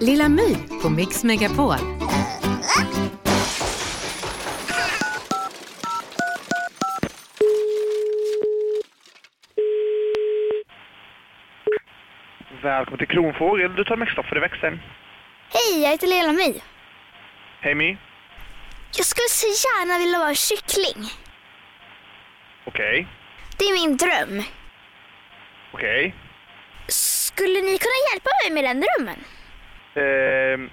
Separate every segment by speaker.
Speaker 1: Lilla My på Mix Megapol.
Speaker 2: Välkommen till Kronfågel. Du tar Mextoffer i växeln.
Speaker 3: Hej, jag heter Lilla My.
Speaker 2: Hej My.
Speaker 3: Jag skulle så gärna vilja vara kyckling.
Speaker 2: Okej.
Speaker 3: Det är min dröm.
Speaker 2: Okej.
Speaker 3: Skulle ni kunna hjälpa mig med den drömmen?
Speaker 2: Ehm,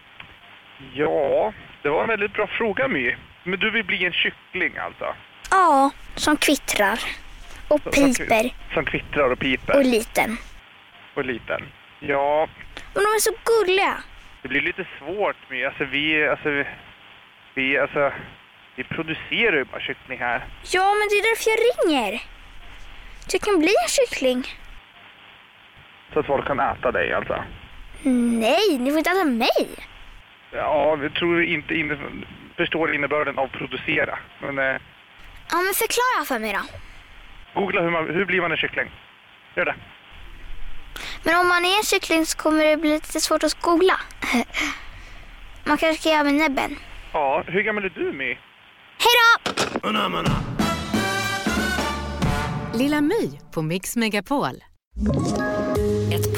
Speaker 2: ja, det var en väldigt bra fråga My. Men du vill bli en kyckling alltså?
Speaker 3: Ja, som kvittrar. Och
Speaker 2: Som- som kvi-
Speaker 3: piper.
Speaker 2: Som kvittrar och piper
Speaker 3: Och
Speaker 2: och,
Speaker 3: liten.
Speaker 2: liten. Ja,
Speaker 3: Men de är så gulliga.
Speaker 2: det blir lite svårt My. Alltså vi, alltså vi, vi, alltså, vi producerar ju bara kyckling här.
Speaker 3: Ja, men det är därför jag ringer. Du kan bli en kyckling.
Speaker 2: Så att folk kan äta dig alltså.
Speaker 3: Nej, ni får inte äta mig.
Speaker 2: Ja, vi tror inte inne, förstår innebörden av producera. Men eh,
Speaker 3: Ja, men förklara för mig då.
Speaker 2: googla hur, man, hur blir man en kyckling. Gör det.
Speaker 3: Men om man är en kyckling så kommer det bli lite svårt att skola. Man kanske kan göra med näbben.
Speaker 2: Ja, hur gammal är du My?
Speaker 3: Hej då!
Speaker 1: Lilla My på Mix Megapol.
Speaker 4: Ett